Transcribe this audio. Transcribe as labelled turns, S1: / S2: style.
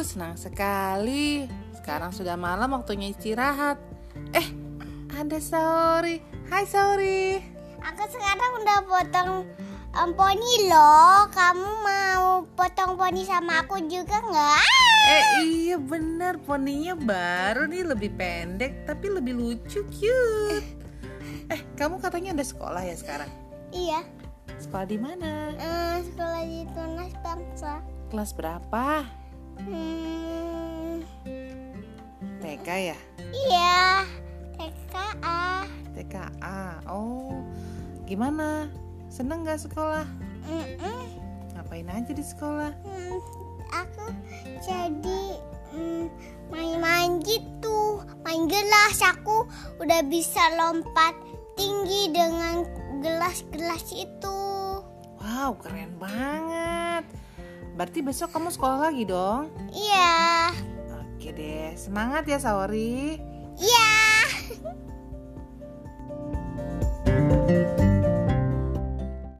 S1: senang sekali. Sekarang sudah malam waktunya istirahat. Eh, ada Saori. Hai Saori.
S2: Aku sekarang udah potong em, poni loh. Kamu mau potong poni sama aku juga nggak?
S1: Eh iya bener poninya baru nih lebih pendek tapi lebih lucu cute. Eh kamu katanya ada sekolah ya sekarang?
S2: Iya.
S1: Sekolah di mana?
S2: Eh, sekolah di tunas bangsa.
S1: Kelas berapa?
S2: Hmm,
S1: TK ya?
S2: iya. TKA.
S1: TKA. Oh gimana? Seneng gak sekolah?
S2: Mm-mm.
S1: Ngapain aja di sekolah?
S2: Hmm, aku jadi mm, main-main gitu main gelas aku udah bisa lompat tinggi dengan gelas-gelas itu
S1: Wow keren banget. Berarti besok kamu sekolah lagi dong?
S2: iya
S1: Oke deh, semangat ya Saori.
S2: iya